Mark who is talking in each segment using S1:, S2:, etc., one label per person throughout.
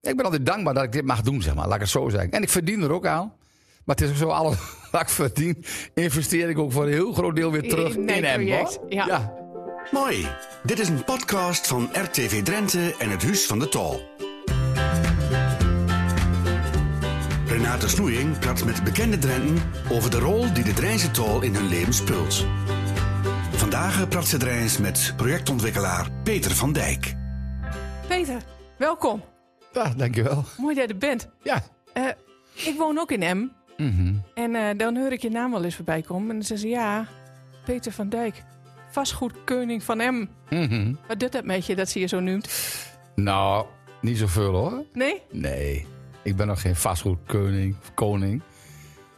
S1: Ik ben altijd dankbaar dat ik dit mag doen, zeg maar. Laat ik het zo zeggen. En ik verdien er ook aan. Maar het is ook zo, alles wat ik verdien, investeer ik ook voor een heel groot deel weer terug in,
S2: In- in het
S1: hem.
S2: project,
S1: hoor.
S2: ja.
S3: Mooi. Dit is een podcast van RTV Drenthe en het Huis van de Tal. Renate Snoeing praat met bekende Drenten over de rol die de Drijnse Tal in hun leven speelt. Vandaag praat ze Drijns met projectontwikkelaar Peter van Dijk.
S2: Peter, welkom.
S1: Ja, dankjewel.
S2: Mooi dat je er bent.
S1: Ja,
S2: Eh, ik woon ook in M.
S1: Mhm.
S2: En eh, dan hoor ik je naam wel eens voorbij komen. En dan zeggen ze, ja, Peter van Dijk. Vastgoedkeuning van M.
S1: Mhm.
S2: Wat doet dat met je, dat ze je zo noemt?
S1: nou, niet zoveel hoor.
S2: Nee?
S1: Nee, ik ben nog geen vastgoedkoning of koning.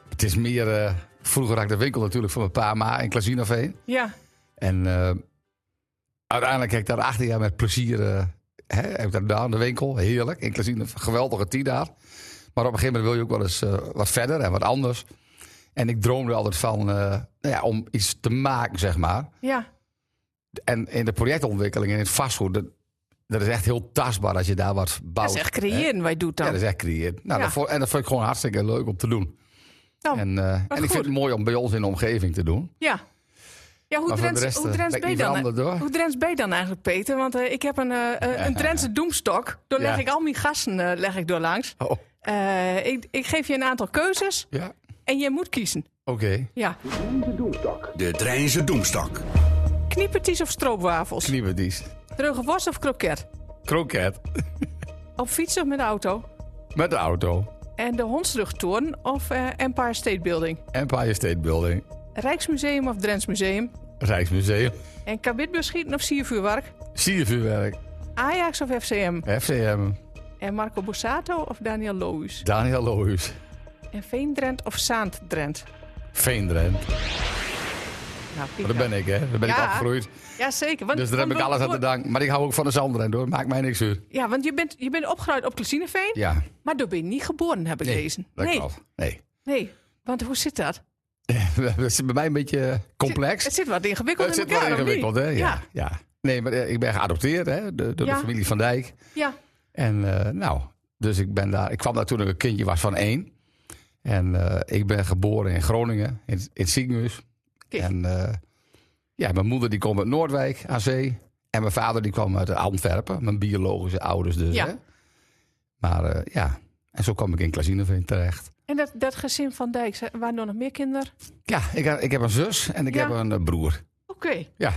S1: Het is meer, eh, vroeger had ik de winkel natuurlijk van mijn pa en ma in Klazinaveen.
S2: Ja.
S1: En eh, uiteindelijk heb ik daar acht jaar met plezier. eh, hè, heb ik dat gedaan, de winkel. Heerlijk. Inclusief een geweldige tien daar. Maar op een gegeven moment wil je ook wel eens eh, wat verder en wat anders. En ik droomde altijd van. eh, nou ja, om iets te maken, zeg maar.
S2: Ja.
S1: En in de projectontwikkeling en in het vastgoed. Dat, dat is echt heel tastbaar als je daar wat bouwt.
S2: Dat is echt creëren wat je doet dan.
S1: Ja, dat is echt creëren. Nou,
S2: Ja.
S1: dat vond- en dat vond ik gewoon hartstikke leuk om te doen.
S2: Nou,
S1: en eh, en ik
S2: goed.
S1: vind het mooi om bij ons in de omgeving te doen.
S2: Ja. Ja, hoe
S1: Maar voor de
S2: Drents,
S1: rest,
S2: hoe
S1: eh,
S2: Drents
S1: ben ik
S2: ben je
S1: niet
S2: dan?
S1: veranderd, hoor.
S2: Hoe Drents ben je dan eigenlijk, Peter? Want eh, ik heb een, eh, eh, een Drentse doemstok. Daar leg
S1: Ja.
S2: ik al mijn gasten eh, leg ik door langs.
S1: Oh,
S2: Eh, ik, ik geef je een aantal keuzes
S1: ja.
S2: en je moet kiezen.
S1: Oké.
S2: Ja.
S3: De Drijnse Doemstak.
S2: Kniepertjes of stroopwafels?
S1: Knieperdies.
S2: Droge worst of kroket?
S1: Kroket.
S2: Op fiets of met de auto?
S1: Met de auto.
S2: En de Hondsrugtoren of eh, Empire State Building?
S1: Empire State Building.
S2: Rijksmuseum of Drents Museum?
S1: Rijksmuseum.
S2: En kabitbeschieten of siervuurwerk?
S1: Siervuurwerk.
S2: Ajax of FCM?
S1: FCM.
S2: En Marco Borsato of Daniel Lohuis?
S1: Daniel Lohuis.
S2: En Veendrent of Zaanddrent?
S1: Veendrent.
S2: Nou,
S1: Maar dat ben ik, hè. Daar ben ik
S2: Ja.
S1: opgegroeid.
S2: Jazeker. Want,
S1: Dus daar heb
S2: want-
S1: ik alles aan te
S2: want-
S1: danken. Maar ik hou ook van de zandrend, hoor. Maakt mij niks uit.
S2: Ja, want je bent, je bent opgegroeid op Klesineveen,
S1: Ja.
S2: maar daar ben je niet geboren, heb ik gelezen.
S1: dat
S2: nee,
S1: klopt. Nee.
S2: nee, want hoe zit dat?
S1: dat is bij mij een beetje eh,
S2: Het
S1: complex.
S2: zit wat ingewikkeld
S1: Het
S2: in
S1: zit
S2: elkaar,
S1: wel
S2: of niet?
S1: ingewikkeld, hè. Ja.
S2: Ja.
S1: ja. Nee, maar eh, ik ben geadopteerd, hè. Door door de,
S2: Ja.
S1: familie Van Dijk.
S2: Ja,
S1: En eh, nou, dus ik ben daar. Ik kwam daar toen ik een kindje was van één. En eh, ik ben geboren in Groningen, in, in het ziekenhuis.
S2: Kijk.
S1: En eh, ja, mijn moeder die kwam uit Noordwijk aan zee. En mijn vader die kwam uit Antwerpen, mijn biologische ouders dus.
S2: Ja.
S1: Hè? Maar eh, ja, en zo kwam ik in Klazineveen terecht.
S2: en dat, dat gezin van Dijk, ze- waren er nog meer kinderen?
S1: Ja, ik, heb- ik heb een zus en ik
S2: Ja.
S1: heb een eh, broer.
S2: Oké.
S1: Ja,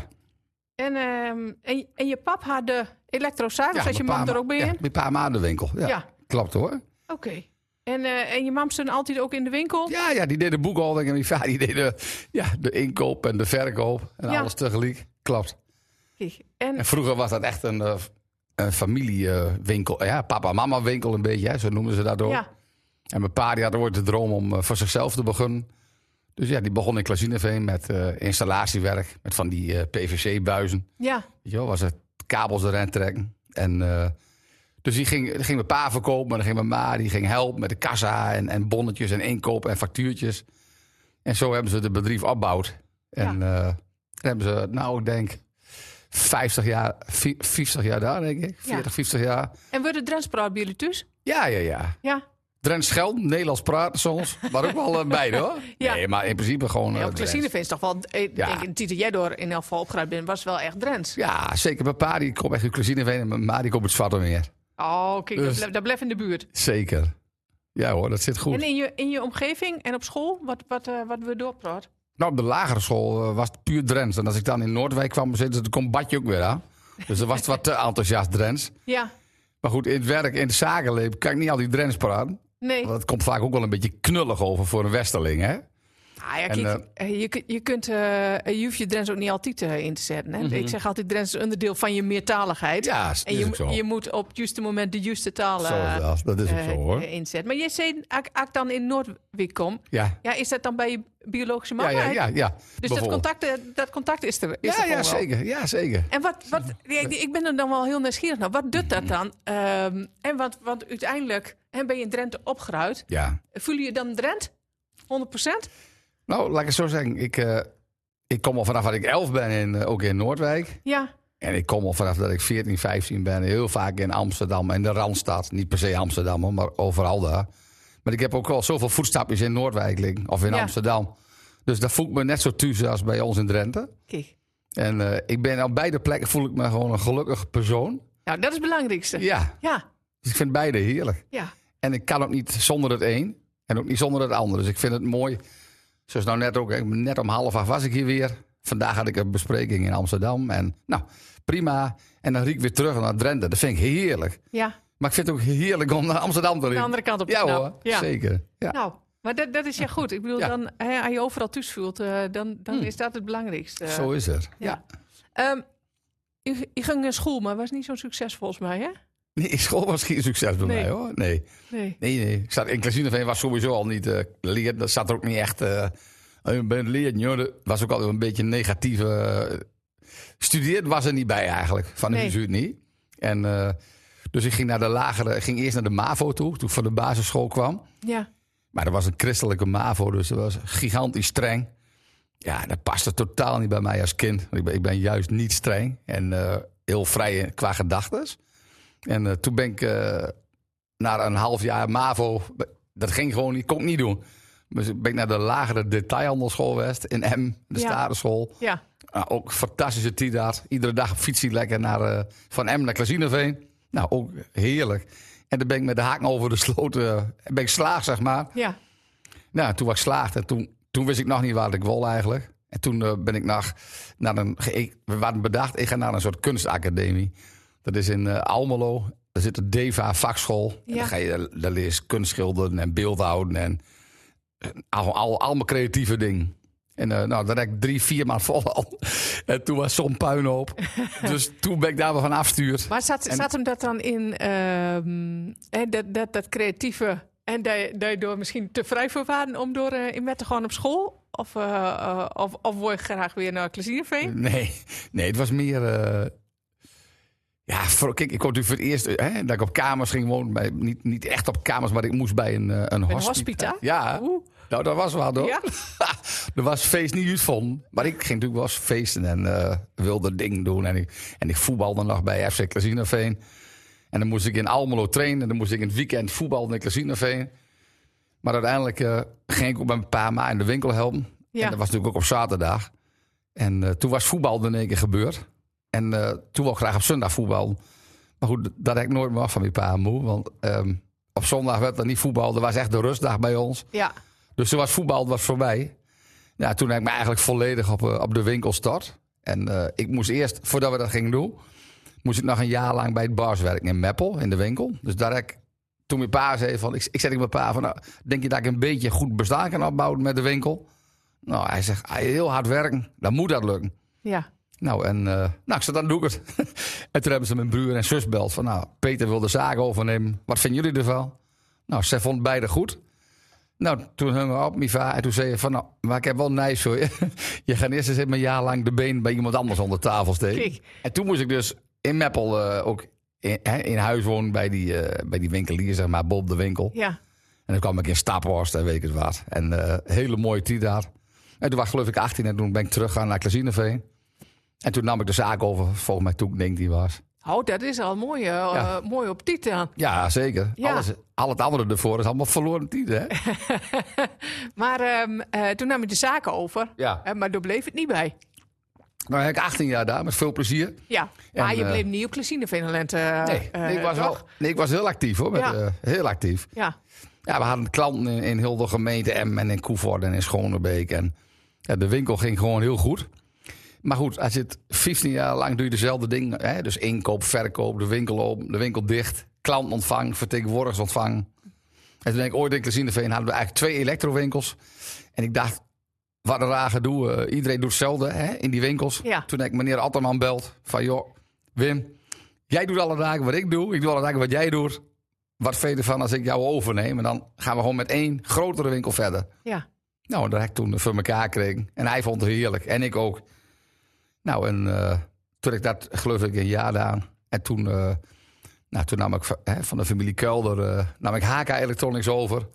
S2: En, ehm, en, en je pap had de
S1: ja
S2: elektrozaag, als je mam er ook bij
S1: ja,
S2: in?
S1: mijn pa maanden winkel. Ja,
S2: Ja.
S1: klopt hoor.
S2: Oké. En, eh, en je mam stond altijd ook in de winkel?
S1: Ja, ja, die deed de boekhouding en die vader die deed de, ja, de inkoop en de verkoop en
S2: Ja.
S1: alles tegelijk. Klopt.
S2: Kijk, En,
S1: En vroeger was dat echt een, eh, een familiewinkel. eh, Ja, papa-mama winkel een beetje, hè, zo noemden ze dat ook.
S2: ja,
S1: En mijn pa die had ooit de droom om eh, voor zichzelf te beginnen. Dus ja, die begon in Klazineveen met eh, installatiewerk. Met van die eh, PVC-buizen.
S2: ja,
S1: Weet je wel, was het kabels erin trekken. En, eh, dus die ging, die ging mijn pa verkopen, maar dan ging mijn ma, die ging helpen met de kassa en, en bonnetjes en inkopen en factuurtjes. En zo hebben ze het bedrijf opgebouwd. En eh, dan hebben ze, nou ik denk, 50 jaar, vi- 50 jaar daar denk ik, 40, 50 jaar.
S2: En worden Drents praat bij jullie thuis?
S1: Ja, ja, ja.
S2: Ja.
S1: Drents geld, Nederlands praten soms, maar ook wel eh, beide hoor.
S2: Ja.
S1: Nee, maar in principe gewoon
S2: Ja,
S1: eh,
S2: op
S1: Drents.
S2: Klesineveen is toch wel... eh, Ik
S1: Ja.
S2: denk, Tite, jij door in elk geval opgeruimd bent, was wel echt Drents.
S1: Ja, zeker. Mijn pa die komt echt uit Klazineveen en mijn ma die komt uit Zwartemeer.
S2: Oh, kijk, dat,
S1: Dus-
S2: blijft, dat blijft in de buurt.
S1: Zeker. Ja hoor, dat zit goed.
S2: En in je, in je omgeving en op school, wat, wat, eh, wat we doorpraat?
S1: Nou, op de lagere school eh, was het puur Drents. En als ik dan in Noordwijk kwam zitten, dan kon Badje ook weer aan. Dus dan was het wat te enthousiast Drents.
S2: Ja,
S1: Maar goed, in het werk, in het zakenleven, kan ik niet al die Drents praten.
S2: nee.
S1: Want dat komt vaak ook wel een beetje knullig over voor een westerling, hè?
S2: Ah, ja,
S1: En,
S2: kijk, eh, je, kun- je, kunt, eh, je hoeft je Drents ook niet altijd eh, in te zetten. Hè? Ik zeg altijd, Drents is onderdeel van je meertaligheid.
S1: Mhm. Ja, is,
S2: en
S1: is
S2: je,
S1: ook zo.
S2: mo- je moet op het juiste moment de juiste taal
S1: Zo is
S2: eh,
S1: dat. Dat is ook
S2: eh,
S1: zo, hoor.
S2: eh, inzetten. Maar jij zei, als ik- als ik dan in Noordwijk kom,
S1: Ja,
S2: ja, is dat dan bij je biologische
S1: ja,
S2: mama?
S1: ja, ja. ja.
S2: Dus dat
S1: Bijvoorbeeld.
S2: contact, eh, dat contact is er, is er
S1: Ja,
S2: gewoon
S1: ja,
S2: wel.
S1: zeker. Ja, zeker.
S2: En wat, wat, ja, ik- ik ben er dan wel heel nieuwsgierig naar. Wat doet dat dan? Ehm, en want, want uiteindelijk hè, ben je in Drenthe opgeruid.
S1: Ja.
S2: Voel je je dan Drent? 100%?
S1: Nou, laat ik het zo zeggen. Ik, eh, ik kom al vanaf dat ik elf ben, in, eh, ook in Noordwijk.
S2: Ja.
S1: En ik kom al vanaf dat ik 14, 15 ben heel vaak in Amsterdam en de Randstad. Niet per se Amsterdam, hoor, maar overal daar. Maar ik heb ook al zoveel voetstapjes in Noordwijk liggen, of in
S2: Ja.
S1: Amsterdam. Dus daar voel ik me net zo thuis als bij ons in Drenthe.
S2: Kijk.
S1: En eh, ik ben op beide plekken voel ik me gewoon een gelukkig persoon.
S2: Nou, dat is het belangrijkste.
S1: Ja,
S2: Ja,
S1: dus ik vind beide heerlijk.
S2: ja.
S1: En ik kan ook niet zonder het een en ook niet zonder het ander. Dus ik vind het mooi. Zoals nou net ook, net om half acht was ik hier weer. Vandaag had ik een bespreking in Amsterdam. En nou, prima. En dan riek ik weer terug naar Drenthe. Dat vind ik heerlijk.
S2: ja.
S1: Maar ik vind het ook heerlijk om naar Amsterdam te
S2: De
S1: rijden.
S2: andere kant op te
S1: Ja
S2: knappen.
S1: hoor, zeker. Ja.
S2: Nou, maar dat, dat is ja goed. Ik bedoel,
S1: Ja. Hmm.
S2: dan, hè, als je overal thuis voelt, eh, dan, dan is dat het belangrijkste.
S1: Zo is het. Ja.
S2: Ehm, ik, ik ging naar school, maar was niet zo'n succes volgens mij, hè?
S1: Nee, school was geen succes bij
S2: Nee.
S1: mij hoor. Nee.
S2: Nee.
S1: Nee, nee. Ik zat, inclusief was sowieso al niet eh leer. Dat zat er ook niet echt. eh eh, bij het leren, joh. Dat was ook altijd een beetje een negatieve. eh, studeerd was er niet bij eigenlijk. Van
S2: Nee.
S1: huis uit niet. En, eh, dus ik ging, naar de lagere, ik ging eerst naar de MAVO toe. Toen ik van de basisschool kwam.
S2: Ja.
S1: Maar dat was een christelijke MAVO. Dus dat was gigantisch streng. Ja, dat paste totaal niet bij mij als kind. Want Ik ben, ik ben juist niet streng. En eh, heel vrij qua gedachtes. En eh, toen ben ik eh, na een half jaar MAVO... Dat ging gewoon niet, kon ik niet doen. Dus ben ik naar de lagere detailhandelschool West in M, de
S2: Ja.
S1: Stadenschool.
S2: Ja.
S1: Nou, ook fantastische tijd daar. Iedere dag op fiets hij lekker naar, eh, van Emmen naar Klazineveen. Nou, ook heerlijk. En dan ben ik met de haak over de sloot. eh, ben ik slaag, zeg maar.
S2: Ja.
S1: Nou, toen was ik slaagd en toen, toen wist ik nog niet waar ik wil eigenlijk. En toen eh, ben ik naar, naar een. ge- ik- we waren bedacht, ik ga naar een soort kunstacademie. Dat is in eh, Almelo. Daar zit de DEVA vakschool. En
S2: Ja.
S1: daar, ga je, daar leer je kunst schilderen en beeldhouden en en al, al, allemaal creatieve dingen. En eh, nou, daar heb ik drie, vier maanden vol al. En toen was zo'n puinhoop. dus toen ben ik daar weer van afstuurd.
S2: Maar zat,
S1: En-
S2: zat hem dat dan in ehm, hè, dat, dat, dat creatieve en dat je- dat je door misschien te vrij voor waren om door eh, in met te gaan op school? Of, eh eh, of, of word je graag weer naar Klezierveen?
S1: Nee, nee, het was meer. eh, ja, voor, kijk, ik kwam natuurlijk voor het eerst eh, hè, dat ik op kamers ging wonen. Bij, niet, niet echt op kamers, maar ik moest bij een, eh, een hospita.
S2: hospita?
S1: Ja,
S2: Oeh.
S1: nou, dat was wel hoor.
S2: Ja?
S1: Er was feest niet uit van. Maar ik ging natuurlijk wel eens feesten en eh, wilde dingen doen. En ik, en ik voetbalde nog bij FC Klazinaveen. En dan moest ik in Almelo trainen. En dan moest ik in het weekend voetballen in Klazinaveen. Maar uiteindelijk eh, ging ik ook met mijn pa en ma in de winkel helpen.
S2: Ja.
S1: En dat was natuurlijk ook op zaterdag. En eh, toen was voetbal in één keer gebeurd. En eh, toen wou ik graag op zondag voetballen. Maar goed, dat heb ik nooit meer af van mijn pa en moe. Want ehm, op zondag werd er niet voetbal. Dat was echt de rustdag bij ons.
S2: Ja.
S1: Dus toen was voetbal was voor mij. Ja, toen heb ik me eigenlijk volledig op, eh, op de winkel start. En eh, ik moest eerst, voordat we dat gingen doen, moest ik nog een jaar lang bij het bars werken in Meppel, in de winkel. Dus daar heb ik, toen mijn pa zei van, ik, ik zei tegen mijn pa van, nou, denk je dat ik een beetje goed bestaan kan opbouwen met de winkel? Nou, hij zegt, ah, heel hard werken, dan moet dat lukken.
S2: Ja.
S1: Nou, en eh, nou, ik zei, dan doe ik het. en toen hebben ze mijn broer en zus beld van, nou, Peter wil de zaak overnemen. Wat vinden jullie ervan? Nou, ze vonden beide goed. Nou, toen hingen we op, Miva, en toen zei je van, nou, maar ik heb wel nijs voor je. je gaat eerst eens even een jaar lang de been bij iemand anders onder tafel steken.
S2: Kijk.
S1: En toen moest ik dus in Meppel eh, ook in, hè, in huis wonen bij die, eh, bij die winkelier, zeg maar, Bob de Winkel.
S2: Ja.
S1: En dan kwam ik in Staphorst en weet ik het wat. En eh, hele mooie tijd daar. En toen was ik geloof ik 18 en toen ben ik teruggegaan naar Klazineveen. En toen nam ik de zaak over, volgens mij toen ik denk die was.
S2: Oh, dat is al mooi, eh, eh, mooi op titel aan.
S1: Ja, zeker.
S2: Ja.
S1: Alles, al het andere ervoor is allemaal verloren tijd, hè?
S2: Maar ehm, eh, toen nam je de zaken over.
S1: Ja.
S2: Eh, maar daar bleef het niet bij.
S1: Nou heb ik 18 jaar daar, met veel plezier.
S2: Ja. Maar
S1: En,
S2: je
S1: eh,
S2: bleef niet op Klezineveen talent.
S1: Nee, nee, ik, was wel, nee ik was heel actief hoor. Met,
S2: Eh, Ja.
S1: eh, heel actief.
S2: Ja.
S1: Ja, we hadden klanten in, in heel de gemeente Em en in Koevoort en in Schonebeek. En ja, de winkel ging gewoon heel goed. Maar goed, als je het 15 jaar lang doe je dezelfde dingen. Hè? Dus inkoop, verkoop, de winkel open, de winkel dicht. Klant ontvang, vertegenwoordigers ontvang. En toen ben ik ooit in Klazineveen hadden we eigenlijk twee elektrowinkels. En ik dacht, wat een raar gedoe. eh, iedereen doet hetzelfde hè, in die winkels.
S2: Ja.
S1: Toen heb ik meneer Atterman belt van, joh, Wim, jij doet alle dagen wat ik doe. Ik doe alle dagen wat jij doet. Wat vind je ervan als ik jou overneem? En dan gaan we gewoon met één grotere winkel verder.
S2: Ja.
S1: Nou, en dat heb ik toen voor elkaar gekregen. En hij vond het heerlijk. En ik ook. Nou, en eh, toen ik dat, geloof ik, een jaar aan. En toen, eh, nou, toen nam ik va- hè, van de familie Kelder eh, nam ik HK Electronics over.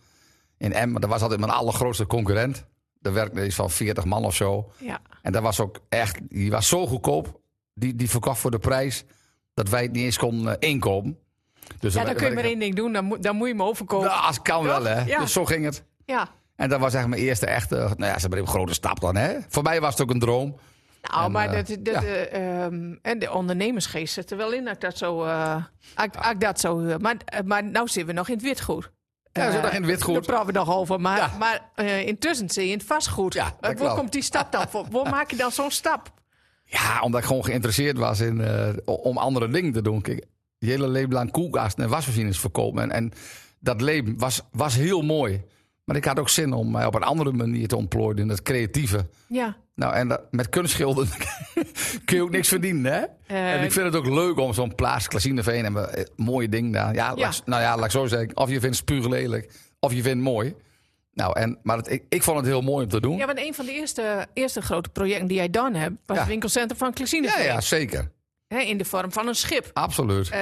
S1: In Emmen. Dat was altijd mijn allergrootste concurrent. Daar werkte iets van 40 man of zo.
S2: Ja.
S1: En dat was ook echt, die was zo goedkoop. die, die verkocht voor de prijs dat wij het niet eens konden eh, inkopen. Dus
S2: Ja,
S1: wij-
S2: dan kun je
S1: wij-
S2: maar één ding doen, dan moet, dan moet je me overkopen.
S1: Nou, als kan wel, hè.
S2: Ja.
S1: Dus zo ging het.
S2: Ja.
S1: En dat was echt mijn eerste echte, nou ja, ze hebben een grote stap dan, hè. Voor mij was het ook een droom.
S2: Nou,
S1: En,
S2: maar
S1: eh,
S2: dat, dat,
S1: ja.
S2: eh, ehm, en de ondernemersgeest zit er wel in dat ik dat zo, eh ik, ik dat zo hoor. Maar, eh, maar nou zitten we nog in het witgoed.
S1: Ja, we zitten
S2: Eh,
S1: nog in het witgoed.
S2: Daar praten we nog over. Maar,
S1: Ja.
S2: maar eh, intussen zit je in het vastgoed.
S1: Ja, dat
S2: Eh, waar
S1: klopt.
S2: komt die stap dan voor? Waar maak je dan zo'n stap?
S1: Ja, omdat ik gewoon geïnteresseerd was in, eh, o- om andere dingen te doen. Kijk, je hele leven lang koelkasten en wasmachines verkopen. En, en dat leven was, was heel mooi. Maar ik had ook zin om mij op een andere manier te ontplooien. In dat creatieve.
S2: Ja.
S1: Nou, en dat, met kunstschilderen kun je ook niks verdienen, hè?
S2: Eh,
S1: en ik vind het ook leuk om zo'n plaats, Klasineveen, en we- eh, mooie ding daar. Ja,
S2: Ja.
S1: laat- nou ja, laat ik zo zeggen. Of je vindt het puur lelijk, of je vindt het mooi. Nou, en, maar het- ik, ik vond het heel mooi om te doen.
S2: Ja,
S1: Ja,
S2: want een van de eerste, eerste grote projecten die jij dan hebt... was
S1: Ja.
S2: het winkelcentrum van
S1: ja,
S2: Klesineveen.
S1: zeker.
S2: Hè, in de vorm van een schip.
S1: Absoluut.
S2: Eh,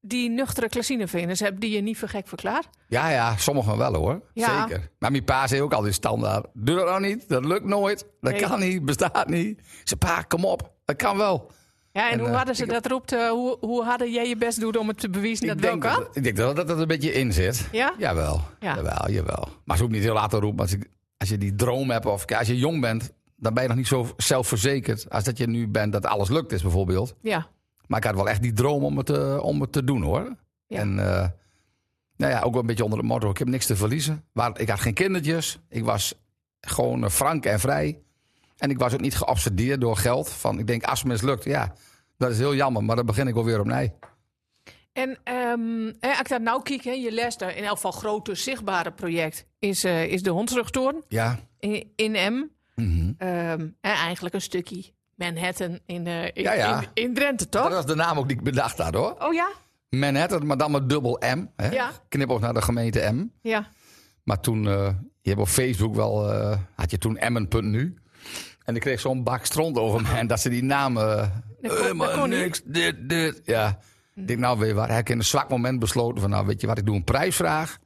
S2: die nuchtere Klesineveeners hebben die je niet voor gek verklaard.
S1: Ja, ja, sommigen wel hoor.
S2: Ja.
S1: Zeker. Maar mijn pa zei ook altijd standaard. Doe dat nou niet, dat lukt nooit. Dat
S2: Nee.
S1: kan niet, bestaat niet. Ik zei, pa, kom op, dat kan wel.
S2: Ja, en,
S1: En,
S2: hoe
S1: eh,
S2: hadden ze
S1: ik-
S2: dat roept? eh, hoe, hoe hadden jij je best doen om het te bewijzen dat
S1: ik,
S2: wel
S1: denk
S2: kan?
S1: dat, ik denk dat dat er een beetje in zit.
S2: Ja?
S1: Jawel,
S2: Ja.
S1: jawel, jawel. Maar ze hoeft niet heel laat te roepen. Als, ik- als je die droom hebt of kijk, als je jong bent, dan ben je nog niet zo zelfverzekerd als dat je nu bent dat alles lukt is bijvoorbeeld.
S2: Ja.
S1: Maar ik had wel echt die droom om het, eh, om het te doen hoor.
S2: Ja.
S1: En eh, nou ja, ook wel een beetje onder het motto, ik heb niks te verliezen. Maar ik had geen kindertjes, ik was gewoon eh, frank en vrij. En ik was ook niet geobsedeerd door geld. Van, ik denk, als het mislukt, ja, dat is heel jammer, maar dan begin ik alweer opnieuw.
S2: En ehm, hè, als ik daar nou kijk, hè, je les daar in elk geval grote zichtbare project is, eh, is de Hondsrugtoren
S1: Ja,
S2: in, in M.
S1: Mhm.
S2: Ehm, en eigenlijk een stukje Manhattan in, eh, in,
S1: Ja, ja.
S2: in, in Drenthe,
S1: dat
S2: toch?
S1: was de naam ook die ik bedacht had hoor.
S2: Oh ja?
S1: Manhattan, maar dan met dubbel M. Hè?
S2: Ja.
S1: Knipoog naar de gemeente M.
S2: Ja.
S1: Maar toen, eh, je hebt op Facebook wel, eh, had je toen Emmen.nu. En ik kreeg zo'n bak stront over me. En dat ze die namen...
S2: Dat kon-
S1: Emmen,
S2: dat kon niet.
S1: niks, dit, dit. Ja. Ik denk, nou weet je wat, heb ik in een zwak moment besloten van... Nou weet je wat, ik doe een prijsvraag.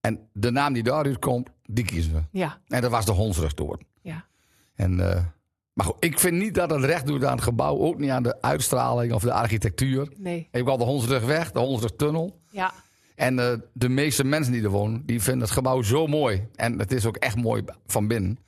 S1: En de naam die daaruit komt, die kiezen we.
S2: Ja.
S1: En dat was de Hondsrugtoren.
S2: Ja.
S1: En, eh, maar goed, ik vind niet dat het recht doet aan het gebouw. Ook niet aan de uitstraling of de architectuur.
S2: Nee.
S1: Je hebt al de Hondsrugweg, de Hondsrugtunnel.
S2: Ja.
S1: En eh, de meeste mensen die er wonen, die vinden het gebouw zo mooi. En het is ook echt mooi van binnen.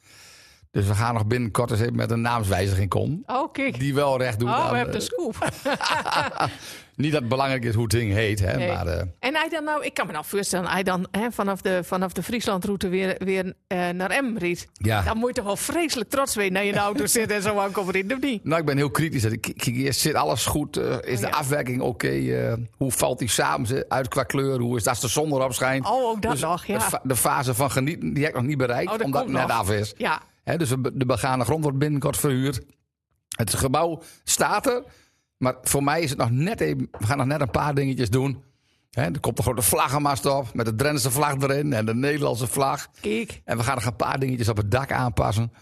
S1: Dus we gaan nog binnenkort eens even met een naamswijziging komen.
S2: Oh, kijk.
S1: Die wel recht doet
S2: Oh,
S1: aan...
S2: we hebben de
S1: eh,
S2: scoop.
S1: Niet dat het belangrijk is hoe het ding heet, hè,
S2: Nee.
S1: maar... eh,
S2: En hij dan nou, ik kan me nou voorstellen, hij dan hè, vanaf de, vanaf de Frieslandroute weer, weer eh, naar Em riet.
S1: Ja.
S2: Dan moet je toch wel vreselijk trots zijn naar je in de auto zit en zo aankomt rijden, of niet?
S1: nou, ik ben heel kritisch. Ik kijk eerst, zit alles goed? Eh, is
S2: Oh, ja.
S1: de afwerking oké? Eh, hoe valt die samen ze- uit qua kleur? Hoe is dat als de zon erop schijnt?
S2: Oh, ook dat nog, ja.
S1: de, Dus fa- de fase van genieten, die heb ik nog niet bereikt,
S2: Oh, dat
S1: omdat het
S2: komt
S1: net
S2: nog.
S1: af is.
S2: Ja,
S1: Hè, dus de de begane grond wordt binnenkort verhuurd. Het gebouw staat er. Maar voor mij is het nog net even. We gaan nog net een paar dingetjes doen. Hè, er komt een grote vlaggenmast op. Met de Drentse vlag erin en de Nederlandse vlag.
S2: kijk.
S1: En we gaan nog een paar dingetjes op het dak aanpassen.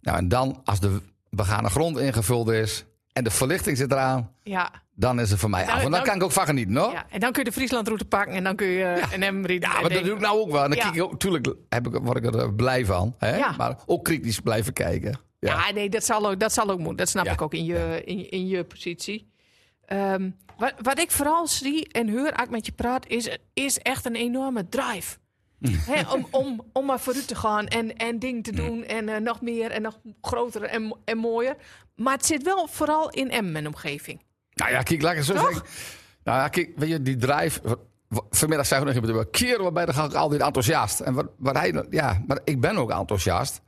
S1: Nou, en dan, als de begane grond ingevuld is. en de verlichting zit eraan.
S2: Ja.
S1: dan is het voor mij af. Want dan
S2: nou-
S1: kan ik ook van genieten hoor.
S2: ja. En dan kun je de Frieslandroute pakken en dan kun je eh, een Em riet.
S1: Ja, maar dat doe ik nou ook wel. En dan
S2: Ja.
S1: kijk ik ook, tuurlijk heb ik, word ik er eh, blij van. Hè?
S2: Ja.
S1: Maar ook kritisch blijven kijken.
S2: Ja, nee, dat zal ook, dat zal ook moeten. Dat snap
S1: Ja.
S2: ik ook in je, in, in je positie. Ehm, wat, wat ik vooral zie en hoor als ik met je praat, is, is echt een enorme drive.
S1: Hm.
S2: Hè, om, om, om maar vooruit te gaan en, en dingen te doen en eh, nog meer en nog groter en, mo- en mooier. Maar het zit wel vooral in M en omgeving.
S1: Nou ja, kijk, laat ik het zo
S2: Toch?
S1: zeggen. Nou ja, kijk, weet je, die drive... w- w- Vanmiddag zei ik nog iemand, keer waarbij dan ga ik altijd enthousiast. En wat, wat hij, ja, maar ik ben ook enthousiast.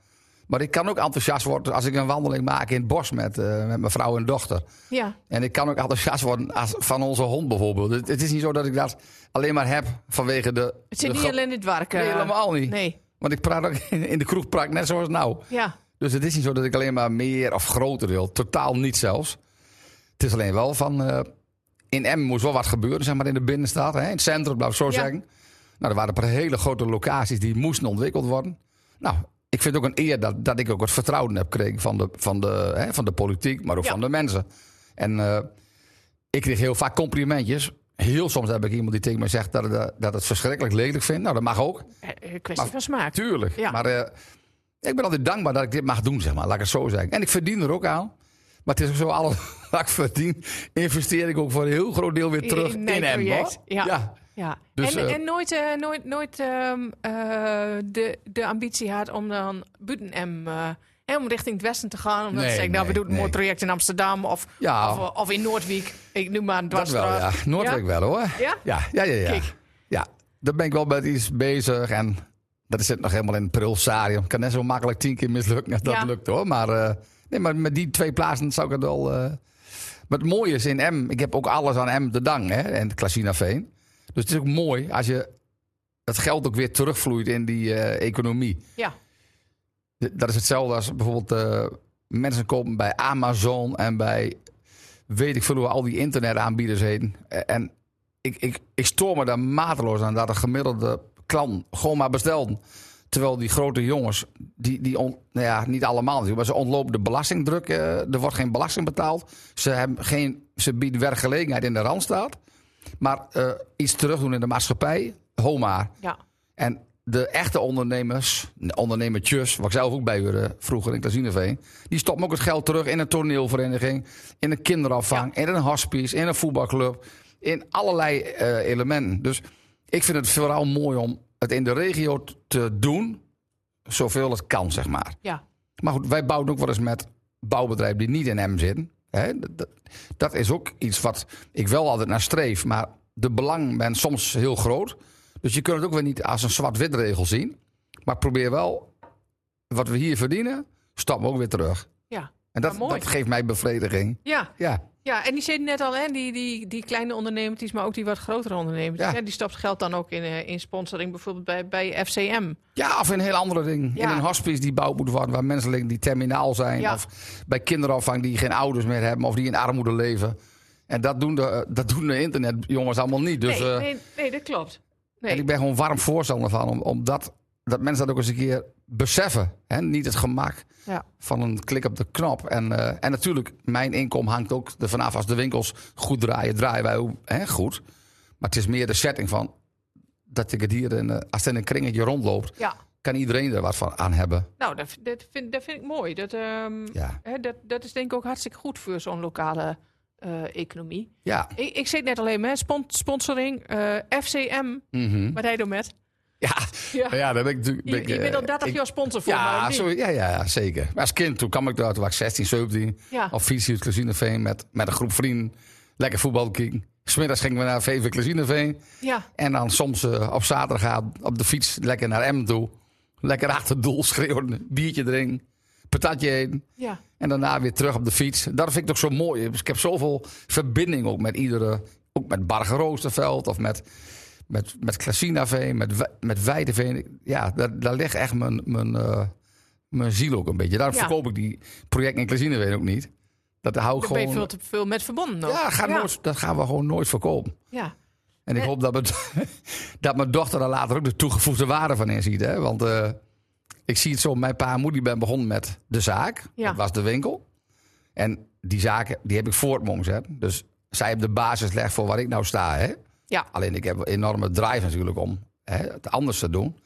S1: Maar ik kan ook enthousiast worden als ik een wandeling maak in het bos met, eh, met mijn vrouw en dochter.
S2: Ja,
S1: En ik kan ook enthousiast worden als, van onze hond bijvoorbeeld. Het, het is niet zo dat ik dat alleen maar heb vanwege de...
S2: het zit
S1: de
S2: niet
S1: grap.
S2: alleen in het werken.
S1: Nee, helemaal niet.
S2: Nee,
S1: Want ik praat ook in, in de kroeg, praat ik net zoals nou.
S2: ja.
S1: Dus het is niet zo dat ik alleen maar meer of groter wil. Totaal niet zelfs. Het is alleen wel van... eh, in Emmen moest wel wat gebeuren, zeg maar, in de binnenstad. Hè? In het centrum, laat ik zo
S2: Ja.
S1: zeggen. Nou, er waren een paar hele grote locaties die moesten ontwikkeld worden. Nou, ik vind het ook een eer dat, dat ik ook het vertrouwen heb gekregen... van de, van de, hè, van de politiek, maar ook
S2: Ja.
S1: van de mensen. En eh, ik kreeg heel vaak complimentjes... Heel soms heb ik iemand die tegen mij zegt dat het, dat het verschrikkelijk lelijk vindt. Nou, dat mag ook.
S2: Eh, eh, kwestie
S1: Maar-
S2: van smaak.
S1: Tuurlijk.
S2: Ja.
S1: Maar eh, ik ben altijd dankbaar dat ik dit mag doen, zeg maar. Laat ik het zo zeggen. En ik verdien er ook aan. Maar het is ook zo, alles wat ik verdien, investeer ik ook voor een heel groot deel weer terug in,
S2: mijn
S1: hem.
S2: project.
S1: hoor.
S2: Ja.
S1: ja.
S2: ja.
S1: Dus,
S2: en,
S1: eh,
S2: en nooit, eh, nooit, nooit ehm, eh, de, de ambitie had om dan buiten M eh, hè, om richting het westen te gaan. Omdat
S1: Nee,
S2: ze zeggen, nou, we
S1: nee,
S2: doen een mooi
S1: nee.
S2: project in Amsterdam of,
S1: Ja.
S2: of, of in Noordwijk. Ik noem maar een
S1: Dat wel, ja.
S2: dwarsstraat.
S1: Noordwijk wel hoor.
S2: Ja?
S1: Ja, ja, ja. Ja,
S2: Kijk.
S1: ja. daar ben ik wel met iets bezig. En dat zit nog helemaal in het prulsarium. Kan net zo makkelijk tien keer mislukken als dat
S2: Ja.
S1: lukt hoor. Maar, eh, nee, maar met die twee plaatsen zou ik het wel... eh, Maar het mooie is in M, ik heb ook alles aan M te danken. Hè? En Klasinaveen. Dus het is ook mooi als je het geld ook weer terugvloeit in die eh, economie.
S2: Ja.
S1: D- Dat is hetzelfde als bijvoorbeeld eh, mensen kopen bij Amazon en bij weet ik veel hoe al die internetaanbieders heen. E- En ik, ik, ik stoor me daar mateloos aan dat een gemiddelde klant gewoon maar bestelt. Terwijl die grote jongens, die, die on- nou ja, niet allemaal natuurlijk, maar ze ontlopen de belastingdruk. eh, er wordt geen belasting betaald. Ze, hebben geen, ze bieden werkgelegenheid in de Randstaat. Maar eh, iets terugdoen in de maatschappij, ho maar.
S2: ja.
S1: En de echte ondernemers, ondernemertjes, waar ik zelf ook bij hoorde vroeger in Klazineveen, die stoppen ook het geld terug in een toneelvereniging, in een kinderafvang, in een hospice, in een voetbalclub, in allerlei eh, elementen. Dus ik vind het vooral mooi om het in de regio t- te doen, zoveel het kan, zeg maar.
S2: ja.
S1: Maar goed, wij bouwen ook wel eens met bouwbedrijven die niet in hem zitten. Hè? Dat, dat- dat is ook iets wat ik wel altijd naar streef. Maar de belang ben soms heel groot. Dus je kunt het ook weer niet als een zwart-wit regel zien. Maar ik probeer wel, wat we hier verdienen, stappen we ook weer terug.
S2: ja.
S1: En
S2: Ja,
S1: dat,
S2: Ah, mooi.
S1: dat geeft mij bevrediging.
S2: Ja,
S1: Ja,
S2: ja, en die zit net al, hè, die, die, die kleine ondernemertjes, maar ook die wat grotere ondernemertjes.
S1: Ja.
S2: hè, die stopt geld dan ook in, eh, in sponsoring, bijvoorbeeld bij, bij FCM.
S1: ja of in een heel andere ding.
S2: Ja.
S1: In een hospice die bouwd moet worden, waar mensen liggen die terminaal zijn.
S2: Ja.
S1: Of bij kinderafvang die geen ouders meer hebben of die in armoede leven. En dat doen de, eh, dat doen de internetjongens allemaal niet. Dus,
S2: nee,
S1: eh,
S2: nee, nee, dat klopt.
S1: En
S2: Nee,
S1: ik ben gewoon warm voorstander van, om- omdat dat mensen dat ook eens een keer beseffen. Hè? Niet het gemak
S2: ja.
S1: van een klik op de knop. En, eh, en natuurlijk, mijn inkomen hangt ook ervan af. Als de winkels goed draaien, draaien wij ook, hè, goed. Maar het is meer de setting van dat ik het hier, in, eh, als het in een kringetje rondloopt,
S2: ja.
S1: kan iedereen er wat van aan hebben.
S2: Nou, dat, dat, vind, dat vind ik mooi. Dat, ehm,
S1: Ja,
S2: hè, dat, dat is denk ik ook hartstikke goed voor zo'n lokale eh, economie.
S1: ja.
S2: Ik, ik zit net alleen maar, hè, spon- sponsoring, eh, FCM,
S1: mhm.
S2: wat hij doet met.
S1: ja.
S2: Ja.
S1: ja daar ben ik natuurlijk...
S2: Je,
S1: ben ik,
S2: je bent
S1: eh,
S2: al 30
S1: ik-
S2: jaar sponsor voor mij.
S1: ja,
S2: of niet?
S1: zo, ja, ja, zeker. Maar als kind, toen kwam ik daar, toen was ik 16, 17.
S2: Ja.
S1: Op fiets hier het Klazineveen met, met een groep vrienden. Lekker voetbal kijken. Smiddags gingen we naar VV Klazineveen.
S2: ja,
S1: En dan soms eh, op zaterdag gaan op de fiets lekker naar Emmen toe. Lekker achter het doel schreeuwen. Biertje drinken. Patatje eten.
S2: ja,
S1: En daarna weer terug op de fiets. Dat vind ik toch zo mooi. Dus ik heb zoveel verbinding ook met iedere... Ook met Barger Roosterveld of met, met, met Klasinaveen, met, We- met Weideveen. Ja, daar, daar ligt echt mijn, mijn, eh, mijn ziel ook een beetje. Daarom
S2: Ja.
S1: verkoop ik die projecten in Klasinaveen ook niet. Dat hou ik
S2: daar ben je veel
S1: gewoon...
S2: te veel met verbonden. ook.
S1: Ja, dat gaat
S2: ja.
S1: Nooit, dat gaan we gewoon nooit verkopen.
S2: ja.
S1: En ik
S2: Eh.
S1: hoop dat mijn, dat mijn dochter daar later ook de toegevoegde waarde van inziet. Hè? Want eh, ik zie het zo, mijn pa en moeder die ben begonnen met de zaak.
S2: Ja.
S1: Dat was de winkel. En die zaken, die heb ik voortmongs. Hè? Dus zij hebben de basis gelegd voor waar ik nou sta. Hè?
S2: Ja.
S1: Alleen ik heb een enorme drive natuurlijk om hè, het anders te doen.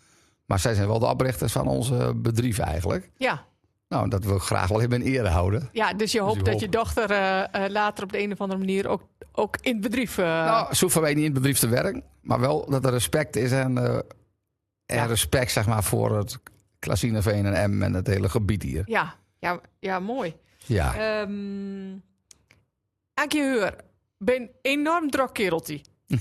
S1: Maar zij zijn wel de oprichters van ons eh, bedrijf eigenlijk.
S2: Ja.
S1: Nou, dat wil ik graag wel even in ere houden.
S2: ja, dus je hoopt
S1: je
S2: dat
S1: hoopt.
S2: je dochter eh, eh, later op de een of andere manier ook, ook in het bedrijf... eh,
S1: Nou, ze hoeven wij niet in het bedrijf te werken. Maar wel dat er respect is en, eh, en
S2: Ja.
S1: respect zeg maar voor het Klasineveen en M en het hele gebied hier.
S2: ja, ja, ja, mooi.
S1: Ja,
S2: Ehm Ankie Heur, ben enorm druk kereltje.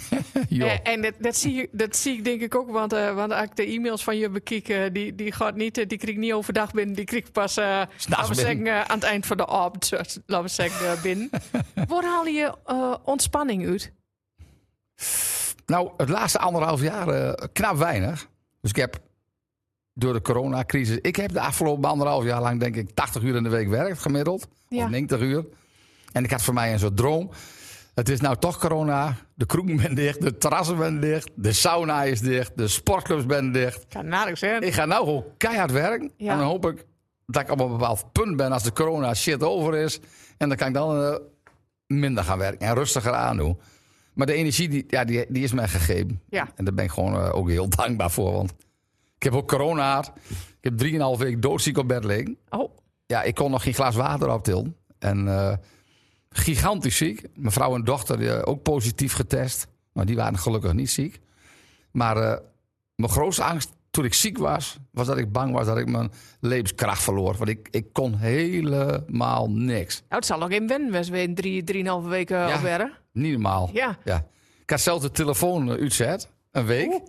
S1: joh.
S2: Eh, en dat, dat, zie, je- dat zie ik denk ik ook, want, eh, want als ik de e-mails van je bekijk, eh, die, die gaat niet, eh, die krijg ik niet overdag binnen, die krijg ik pas, eh, laten
S1: binnen.
S2: we zeggen, eh, aan het eind van de avond, eh, laten we zeggen, eh, binnen. Waar haal je eh, ontspanning uit?
S1: Nou, het laatste anderhalf jaar eh, knap weinig. Dus ik heb door de coronacrisis... Ik heb de afgelopen anderhalf jaar lang denk ik 80 uur in de week werk gemiddeld.
S2: Ja.
S1: Of 90 uur. En ik had voor mij een soort droom. Het is nou toch corona. De kroegen ben dicht, de terrassen ben dicht, de sauna is dicht, de sportclubs ben dicht.
S2: Kan nauwelijks, hè?
S1: Ik ga nou gewoon keihard werken.
S2: Ja.
S1: En dan hoop ik dat ik op een bepaald punt ben als de corona shit over is. En dan kan ik dan eh, minder gaan werken en rustiger aan doen. Maar de energie, die, ja, die, die is mij gegeven.
S2: Ja.
S1: En daar ben ik gewoon eh, ook heel dankbaar voor. Want ik heb ook corona gehad. Ik heb drieënhalf week doodziek op bed liggen.
S2: Oh,
S1: Ja, ik kon nog geen glas water optillen. En eh, gigantisch ziek. Mijn vrouw en dochter eh, ook positief getest. Maar die waren gelukkig niet ziek. Maar eh, mijn grootste angst toen ik ziek was, was dat ik bang was dat ik mijn levenskracht verloor. Want ik, ik kon helemaal niks.
S2: Nou, het zal ook in Wenwes weer in drie, drieënhalve weken
S1: Ja.
S2: al werken.
S1: Niet normaal.
S2: Ja.
S1: Ik had zelf de telefoon eh, uitzet, een week.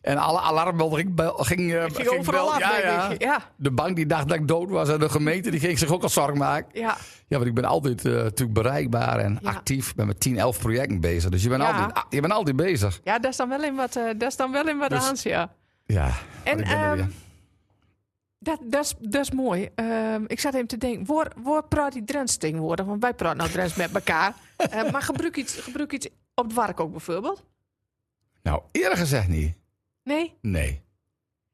S1: En alle alarmbel ging, bel- ging, eh,
S2: Ging overal
S1: bel-
S2: af,
S1: ja, ja.
S2: denk ik. Ja,
S1: De bank die dacht dat ik dood was en de gemeente die ging zich ook al zorgen maken.
S2: ja.
S1: Ja, want ik ben altijd eh, natuurlijk bereikbaar en
S2: Ja.
S1: actief. Ik ben met 10, 11 projecten bezig. Dus je bent,
S2: Ja.
S1: altijd, ah, je bent altijd bezig.
S2: ja daar is dan wel in wat, eh daar is dan wel in wat
S1: Dus-
S2: aans, ja.
S1: Ja.
S2: En
S1: ik ben er
S2: ehm,
S1: weer.
S2: dat, dat, is, dat is mooi. Ehm, ik zat even te denken, waar, waar praat die Drents tegenwoordig? Want wij praten nou Drents met elkaar. Eh, maar gebruik iets, gebruik iets op het werk ook bijvoorbeeld?
S1: Nou, eerder gezegd niet.
S2: Nee?
S1: Nee.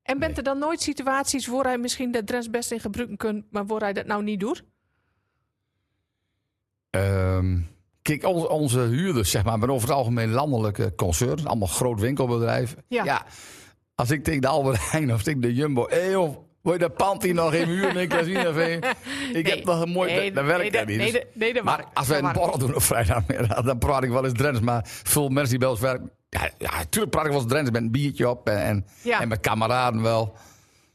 S2: En bent
S1: Nee.
S2: er dan nooit situaties waar hij misschien dat Drents best in gebruiken kunt, maar waar hij dat nou niet doet?
S1: Ehm, kijk, on- onze huurders, zeg maar, maar over het algemeen landelijke concerns. Allemaal groot winkelbedrijven.
S2: Ja.
S1: Als ik tegen de Albert Heijn of tegen de Jumbo... Hé joh, wil je dat pand hier nog in huren in Klazinaveen? Ik heb nog een mooi... dat werkt
S2: nee,
S1: dat niet.
S2: Nee,
S1: Dus-
S2: dat- nee, dat
S1: Maar
S2: werkt.
S1: als wij
S2: Dat
S1: een
S2: werkt.
S1: borrel doen op vrijdagmiddag, dan praat ik wel eens Drents. Maar veel mensen die bij ons werken, ja, ja tuurlijk praat ik wel eens Drents met een biertje op en, en,
S2: Ja.
S1: en met kameraden wel.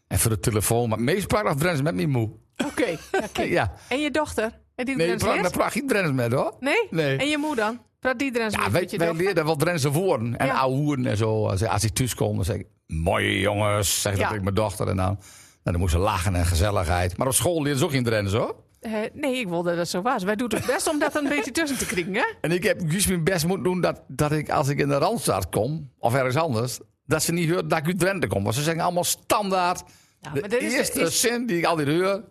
S1: En voor de telefoon, maar meest praat ik nog Drents met mijn moe.
S2: Oké. Ja, kijk.
S1: Ja,
S2: En je dochter? En die
S1: nee, je
S2: Drents
S1: praat, daar
S2: leert?
S1: praat geen Drents met hoor.
S2: Nee?
S1: Nee.
S2: En je moeder dan? Praat die Drents
S1: Ja,
S2: met
S1: wij,
S2: je
S1: wij
S2: dochter?
S1: leren wel Drentse woorden en
S2: Ja.
S1: ouwe hoeren en zo. Als, als ik thuis kom, dan zeg ik, mooie jongens, zeg ik
S2: Ja.
S1: dat ik mijn dochter. En dan, nou, dan moest ze lachen en gezelligheid. Maar op school leerden ze ook geen Drents hoor.
S2: Eh, nee, ik wilde dat het zo was. Wij doen het best om dat een beetje tussen te kriegen, hè?
S1: En ik heb juist mijn best moeten doen dat, dat ik als ik in de Randstad kom, of ergens anders, dat ze niet hoort dat ik uit Drenthe kom. Want ze zeggen allemaal standaard,
S2: Ja,
S1: de
S2: maar dat is- dus-
S1: eerste
S2: is-
S1: zin die ik altijd hoor. Hé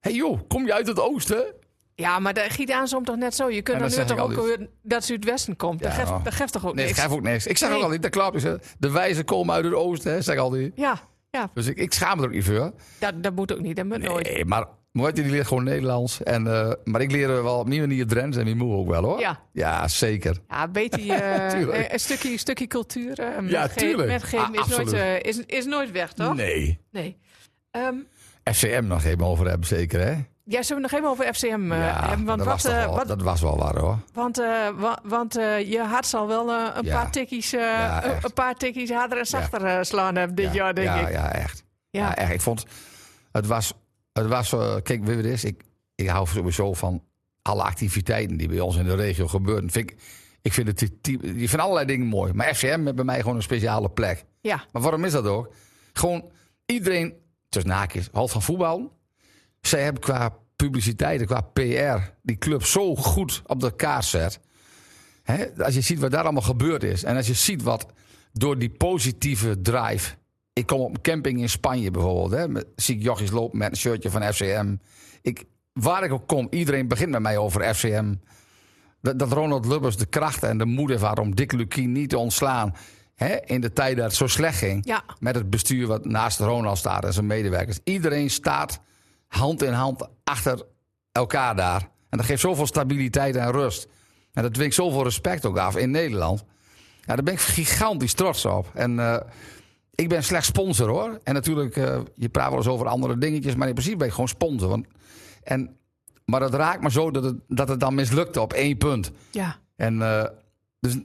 S1: hey joh, kom je uit het oosten?
S2: Ja, maar dat giet aan soms toch net zo. Je kunt
S1: En
S2: dan
S1: dat
S2: nu
S1: zeg
S2: toch
S1: ik
S2: ook
S1: altijd.
S2: horen dat ze uit het westen komt.
S1: Ja,
S2: dat, geeft,
S1: oh.
S2: dat geeft toch ook
S1: Nee, ik
S2: niks?
S1: schrijf ook niks. Ik zeg
S2: Nee.
S1: ook altijd, dat klopt. Ik zeg, De wijzen komen uit het oosten, hè, zeg ik altijd.
S2: Ja, ja
S1: Dus ik, ik schaam me er ook niet voor.
S2: dat, dat moet ook niet. Dat moet nooit.
S1: Nee, Eh, maar Moët die leert gewoon Nederlands. En, eh, maar ik leer wel op mijn manier Drents en mijn moe ook wel hoor.
S2: Ja.
S1: ja zeker.
S2: Ja, een beetje eh,
S1: Tuurlijk.
S2: eh, een stukje, een stukje cultuur eh, met
S1: Ja,
S2: ge-
S1: tuurlijk.
S2: met geven
S1: Ah,
S2: is, nooit,
S1: absoluut.
S2: eh, is, is nooit weg, toch?
S1: Nee.
S2: Nee. Ehm,
S1: FCM nog even over hebben, zeker hè?
S2: ja, zullen we nog even over FCM eh,
S1: ja,
S2: hebben? Want,
S1: dat, was
S2: wat,
S1: toch
S2: eh,
S1: wel,
S2: wat,
S1: dat was wel waar hoor.
S2: want, eh, wa- want eh, je hart zal wel eh, een,
S1: Ja.
S2: paar tikkies, eh,
S1: Ja,
S2: een,
S1: echt.
S2: een paar tikkies harder en zachter eh, slaan hebben dit
S1: ja,
S2: jaar, denk
S1: ja,
S2: ik.
S1: Ja, echt. Ja.
S2: Ja.
S1: echt. Ik vond, het was, het was eh, kijk, weet je wat het is? Ik, ik hou sowieso van alle activiteiten die bij ons in de regio gebeuren. Vind ik, ik vind het, die- die- je vindt allerlei dingen mooi. Maar FCM heeft bij mij gewoon een speciale plek.
S2: Ja.
S1: Maar waarom is dat ook? Gewoon iedereen, tussen haakjes, houdt van voetbal. Zij hebben qua publiciteit en qua PR die club zo goed op de kaart zet. Hè, als je ziet wat daar allemaal gebeurd is. En als je ziet wat door die positieve drive. Ik kom op een camping in Spanje bijvoorbeeld. Hè, met, zie ik jochies lopen met een shirtje van FCM. Ik, waar ik ook kom, iedereen begint met mij over FCM. Dat, dat Ronald Lubbers de krachten en de moed heeft had om Dick Lukien niet te ontslaan. Hè, in de tijd dat het zo slecht ging.
S2: Ja.
S1: Met het bestuur wat naast Ronald staat en zijn medewerkers. Iedereen staat hand in hand achter elkaar daar. En dat geeft zoveel stabiliteit en rust. En dat dwingt zoveel respect ook af in Nederland. Ja, daar ben ik gigantisch trots op. En eh, ik ben slechts sponsor hoor. En natuurlijk, eh, je praat wel eens over andere dingetjes. Maar in principe ben ik gewoon sponsor. Want, en, maar dat raakt me zo dat het, dat het dan mislukte op één punt.
S2: ja.
S1: En eh, dus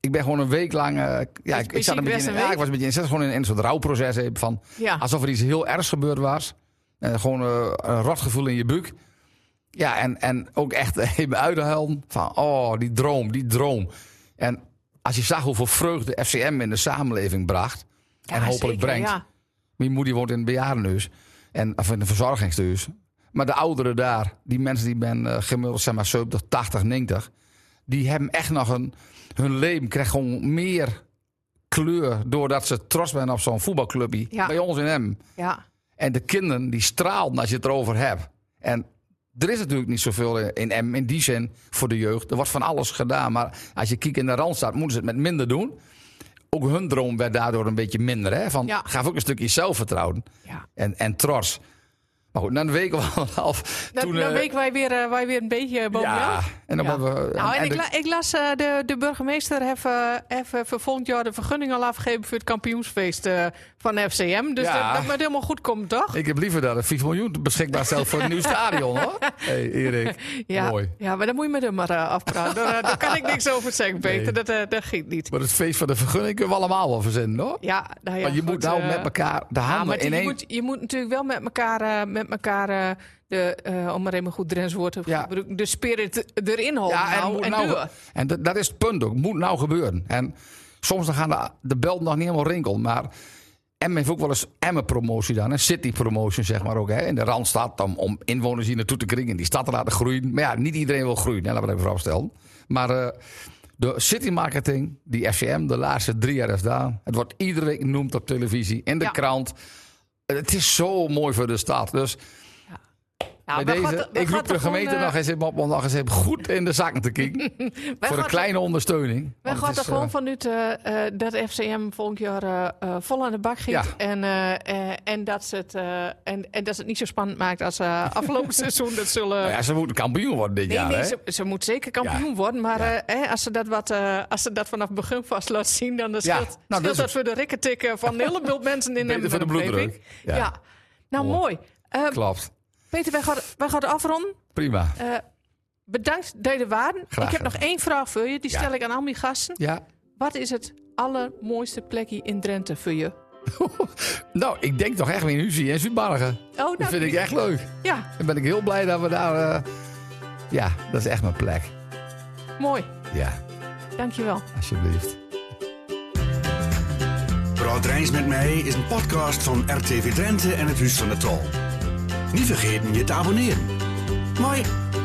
S1: ik ben gewoon een week lang. eh, ja, ik, ik
S2: ziek
S1: zat een
S2: best
S1: beetje in,
S2: een
S1: ja,
S2: week?
S1: ik was een beetje in, zat gewoon in een soort rouwproces. eh, Van,
S2: Ja.
S1: Alsof er iets heel ergs gebeurd was. En gewoon eh, een rotgevoel in je buik. Ja, en, en ook echt eh, even uithuilen van, oh, die droom, die droom. En als je zag hoeveel vreugde FCM in de samenleving bracht... en
S2: Ja,
S1: hopelijk
S2: zeker,
S1: brengt.
S2: Ja.
S1: Mijn moeder woont in een bejaardenhuis. En, of in een verzorgingshuis. Maar de ouderen daar, die mensen die ben eh, gemiddeld zeg maar 70, 80, 90... die hebben echt nog een... hun leven krijgt gewoon meer kleur... doordat ze trots zijn op zo'n voetbalclubje
S2: Ja.
S1: bij ons in hem.
S2: ja.
S1: En de kinderen die straalden als je het erover hebt. En er is natuurlijk niet zoveel in M in die zin voor de jeugd. Er wordt van alles gedaan. Maar als je kijkt in de rand staat, moeten ze het met minder doen. Ook hun droom werd daardoor een beetje minder. Hè? Van,
S2: Ja.
S1: Gaf ook een stukje zelfvertrouwen
S2: Ja.
S1: en, en trots. Maar goed, na een week of anderhalf.
S2: Dan,
S1: toen,
S2: dan
S1: eh,
S2: weken wij weer, eh, wij weer een beetje boven
S1: ja,
S2: jou.
S1: en dan
S2: Ja.
S1: hebben we. eh,
S2: Nou, en,
S1: en
S2: ik,
S1: de-
S2: la- ik las eh, de, de burgemeester heeft, eh, heeft eh, voor volgend jaar de vergunning al afgegeven voor het kampioensfeest eh, van FCM. Dus
S1: Ja.
S2: dat, dat moet helemaal goed komt, toch?
S1: ik heb liever dat er 5 miljoen beschikbaar stelt voor een nieuw stadion, hoor. hey, Erik.
S2: ja,
S1: Mooi.
S2: ja, maar dan moet je met hem maar eh, afpraten. daar, eh, daar kan ik niks over zeggen, Peter.
S1: Nee.
S2: Dat, eh, dat ging niet.
S1: Maar het feest van de vergunning kunnen we allemaal wel verzinnen, hoor.
S2: Ja, nou ja,
S1: maar je
S2: goed,
S1: moet nou
S2: eh,
S1: met elkaar de
S2: ja,
S1: handen
S2: maar
S1: in
S2: je,
S1: één.
S2: moet, je moet natuurlijk wel met elkaar, eh, met elkaar eh, de, eh, om maar even een goed Drents woord te
S1: Ja.
S2: gebruiken, de spirit erin houden.
S1: Ja, en,
S2: nou,
S1: moet
S2: en
S1: nou,
S2: doen.
S1: en dat, dat is het punt ook. Moet nou gebeuren. En soms dan gaan de, de belden nog niet helemaal rinkelen. Maar Emmen heeft ook wel eens Emmen-promotie dan. Hè? City-promotion, zeg maar ook. Hè? In de Randstad, om, om inwoners hier naartoe te kringen. Die stad te laten groeien. Maar ja, niet iedereen wil groeien. Hè? Laten we dat even vooropstellen. Maar eh, de city-marketing, die FCM, de laatste drie jaar is gedaan. Het wordt iedere week genoemd op televisie, in de
S2: Ja.
S1: krant. Het is zo mooi voor de stad. Dus
S2: Nou,
S1: met
S2: wij
S1: deze,
S2: gaat- wij
S1: ik
S2: gaat
S1: roep de
S2: toch gewoon,
S1: gemeente
S2: eh,
S1: nog eens even op om nog eens even goed in de zakken te kijken.
S2: wij
S1: Voor een
S2: gaat-
S1: kleine ondersteuning.
S2: Wij
S1: Want
S2: gaan
S1: het
S2: er
S1: is, eh,
S2: gewoon vanuit eh, eh, dat FCM volgend jaar eh, eh, vol aan de bak gaat.
S1: Ja.
S2: En, eh, eh, en, dat ze het, eh, en, en dat ze het niet zo spannend maakt als eh, afgelopen seizoen. Dat zullen...
S1: nou ja, ze moeten kampioen worden dit
S2: Nee,
S1: jaar.
S2: nee,
S1: hè?
S2: ze, ze moet zeker kampioen
S1: Ja.
S2: worden. Maar
S1: Ja.
S2: eh, hè, als, ze dat wat, eh, als ze dat vanaf het begin vast laat zien, dan
S1: Ja,
S2: eh, scheelt,
S1: nou,
S2: scheelt
S1: dat is
S2: dat,
S1: het.
S2: voor de rikketikken van een heleboel mensen in
S1: Beter
S2: Emmen
S1: voor de
S2: en omgeving.
S1: bloeddruk. Ja.
S2: Ja. nou
S1: Mooi.
S2: mooi. Eh,
S1: Klopt.
S2: Peter, wij gaan, wij gaan afronden.
S1: Prima.
S2: Eh, bedankt dat je er waren.
S1: Graag
S2: ik heb nog
S1: gedaan.
S2: één vraag voor je, die
S1: Ja.
S2: stel ik aan al mijn gasten.
S1: Ja.
S2: Wat is het allermooiste plekje in Drenthe voor je? Oh,
S1: Nou, ik denk toch echt weer in Huzie en Zuidbargen.
S2: Oh, nou,
S1: Dat vind ik echt leuk.
S2: Ja,
S1: Dan ben ik heel blij dat we daar... eh, Ja, dat is echt mijn plek.
S2: mooi.
S1: Ja,
S2: Dankjewel.
S1: alsjeblieft.
S3: Praat Drijns met mij is een podcast van RTV Drenthe en het Huis van de Tal. Niet vergeten je te abonneren. Mooi.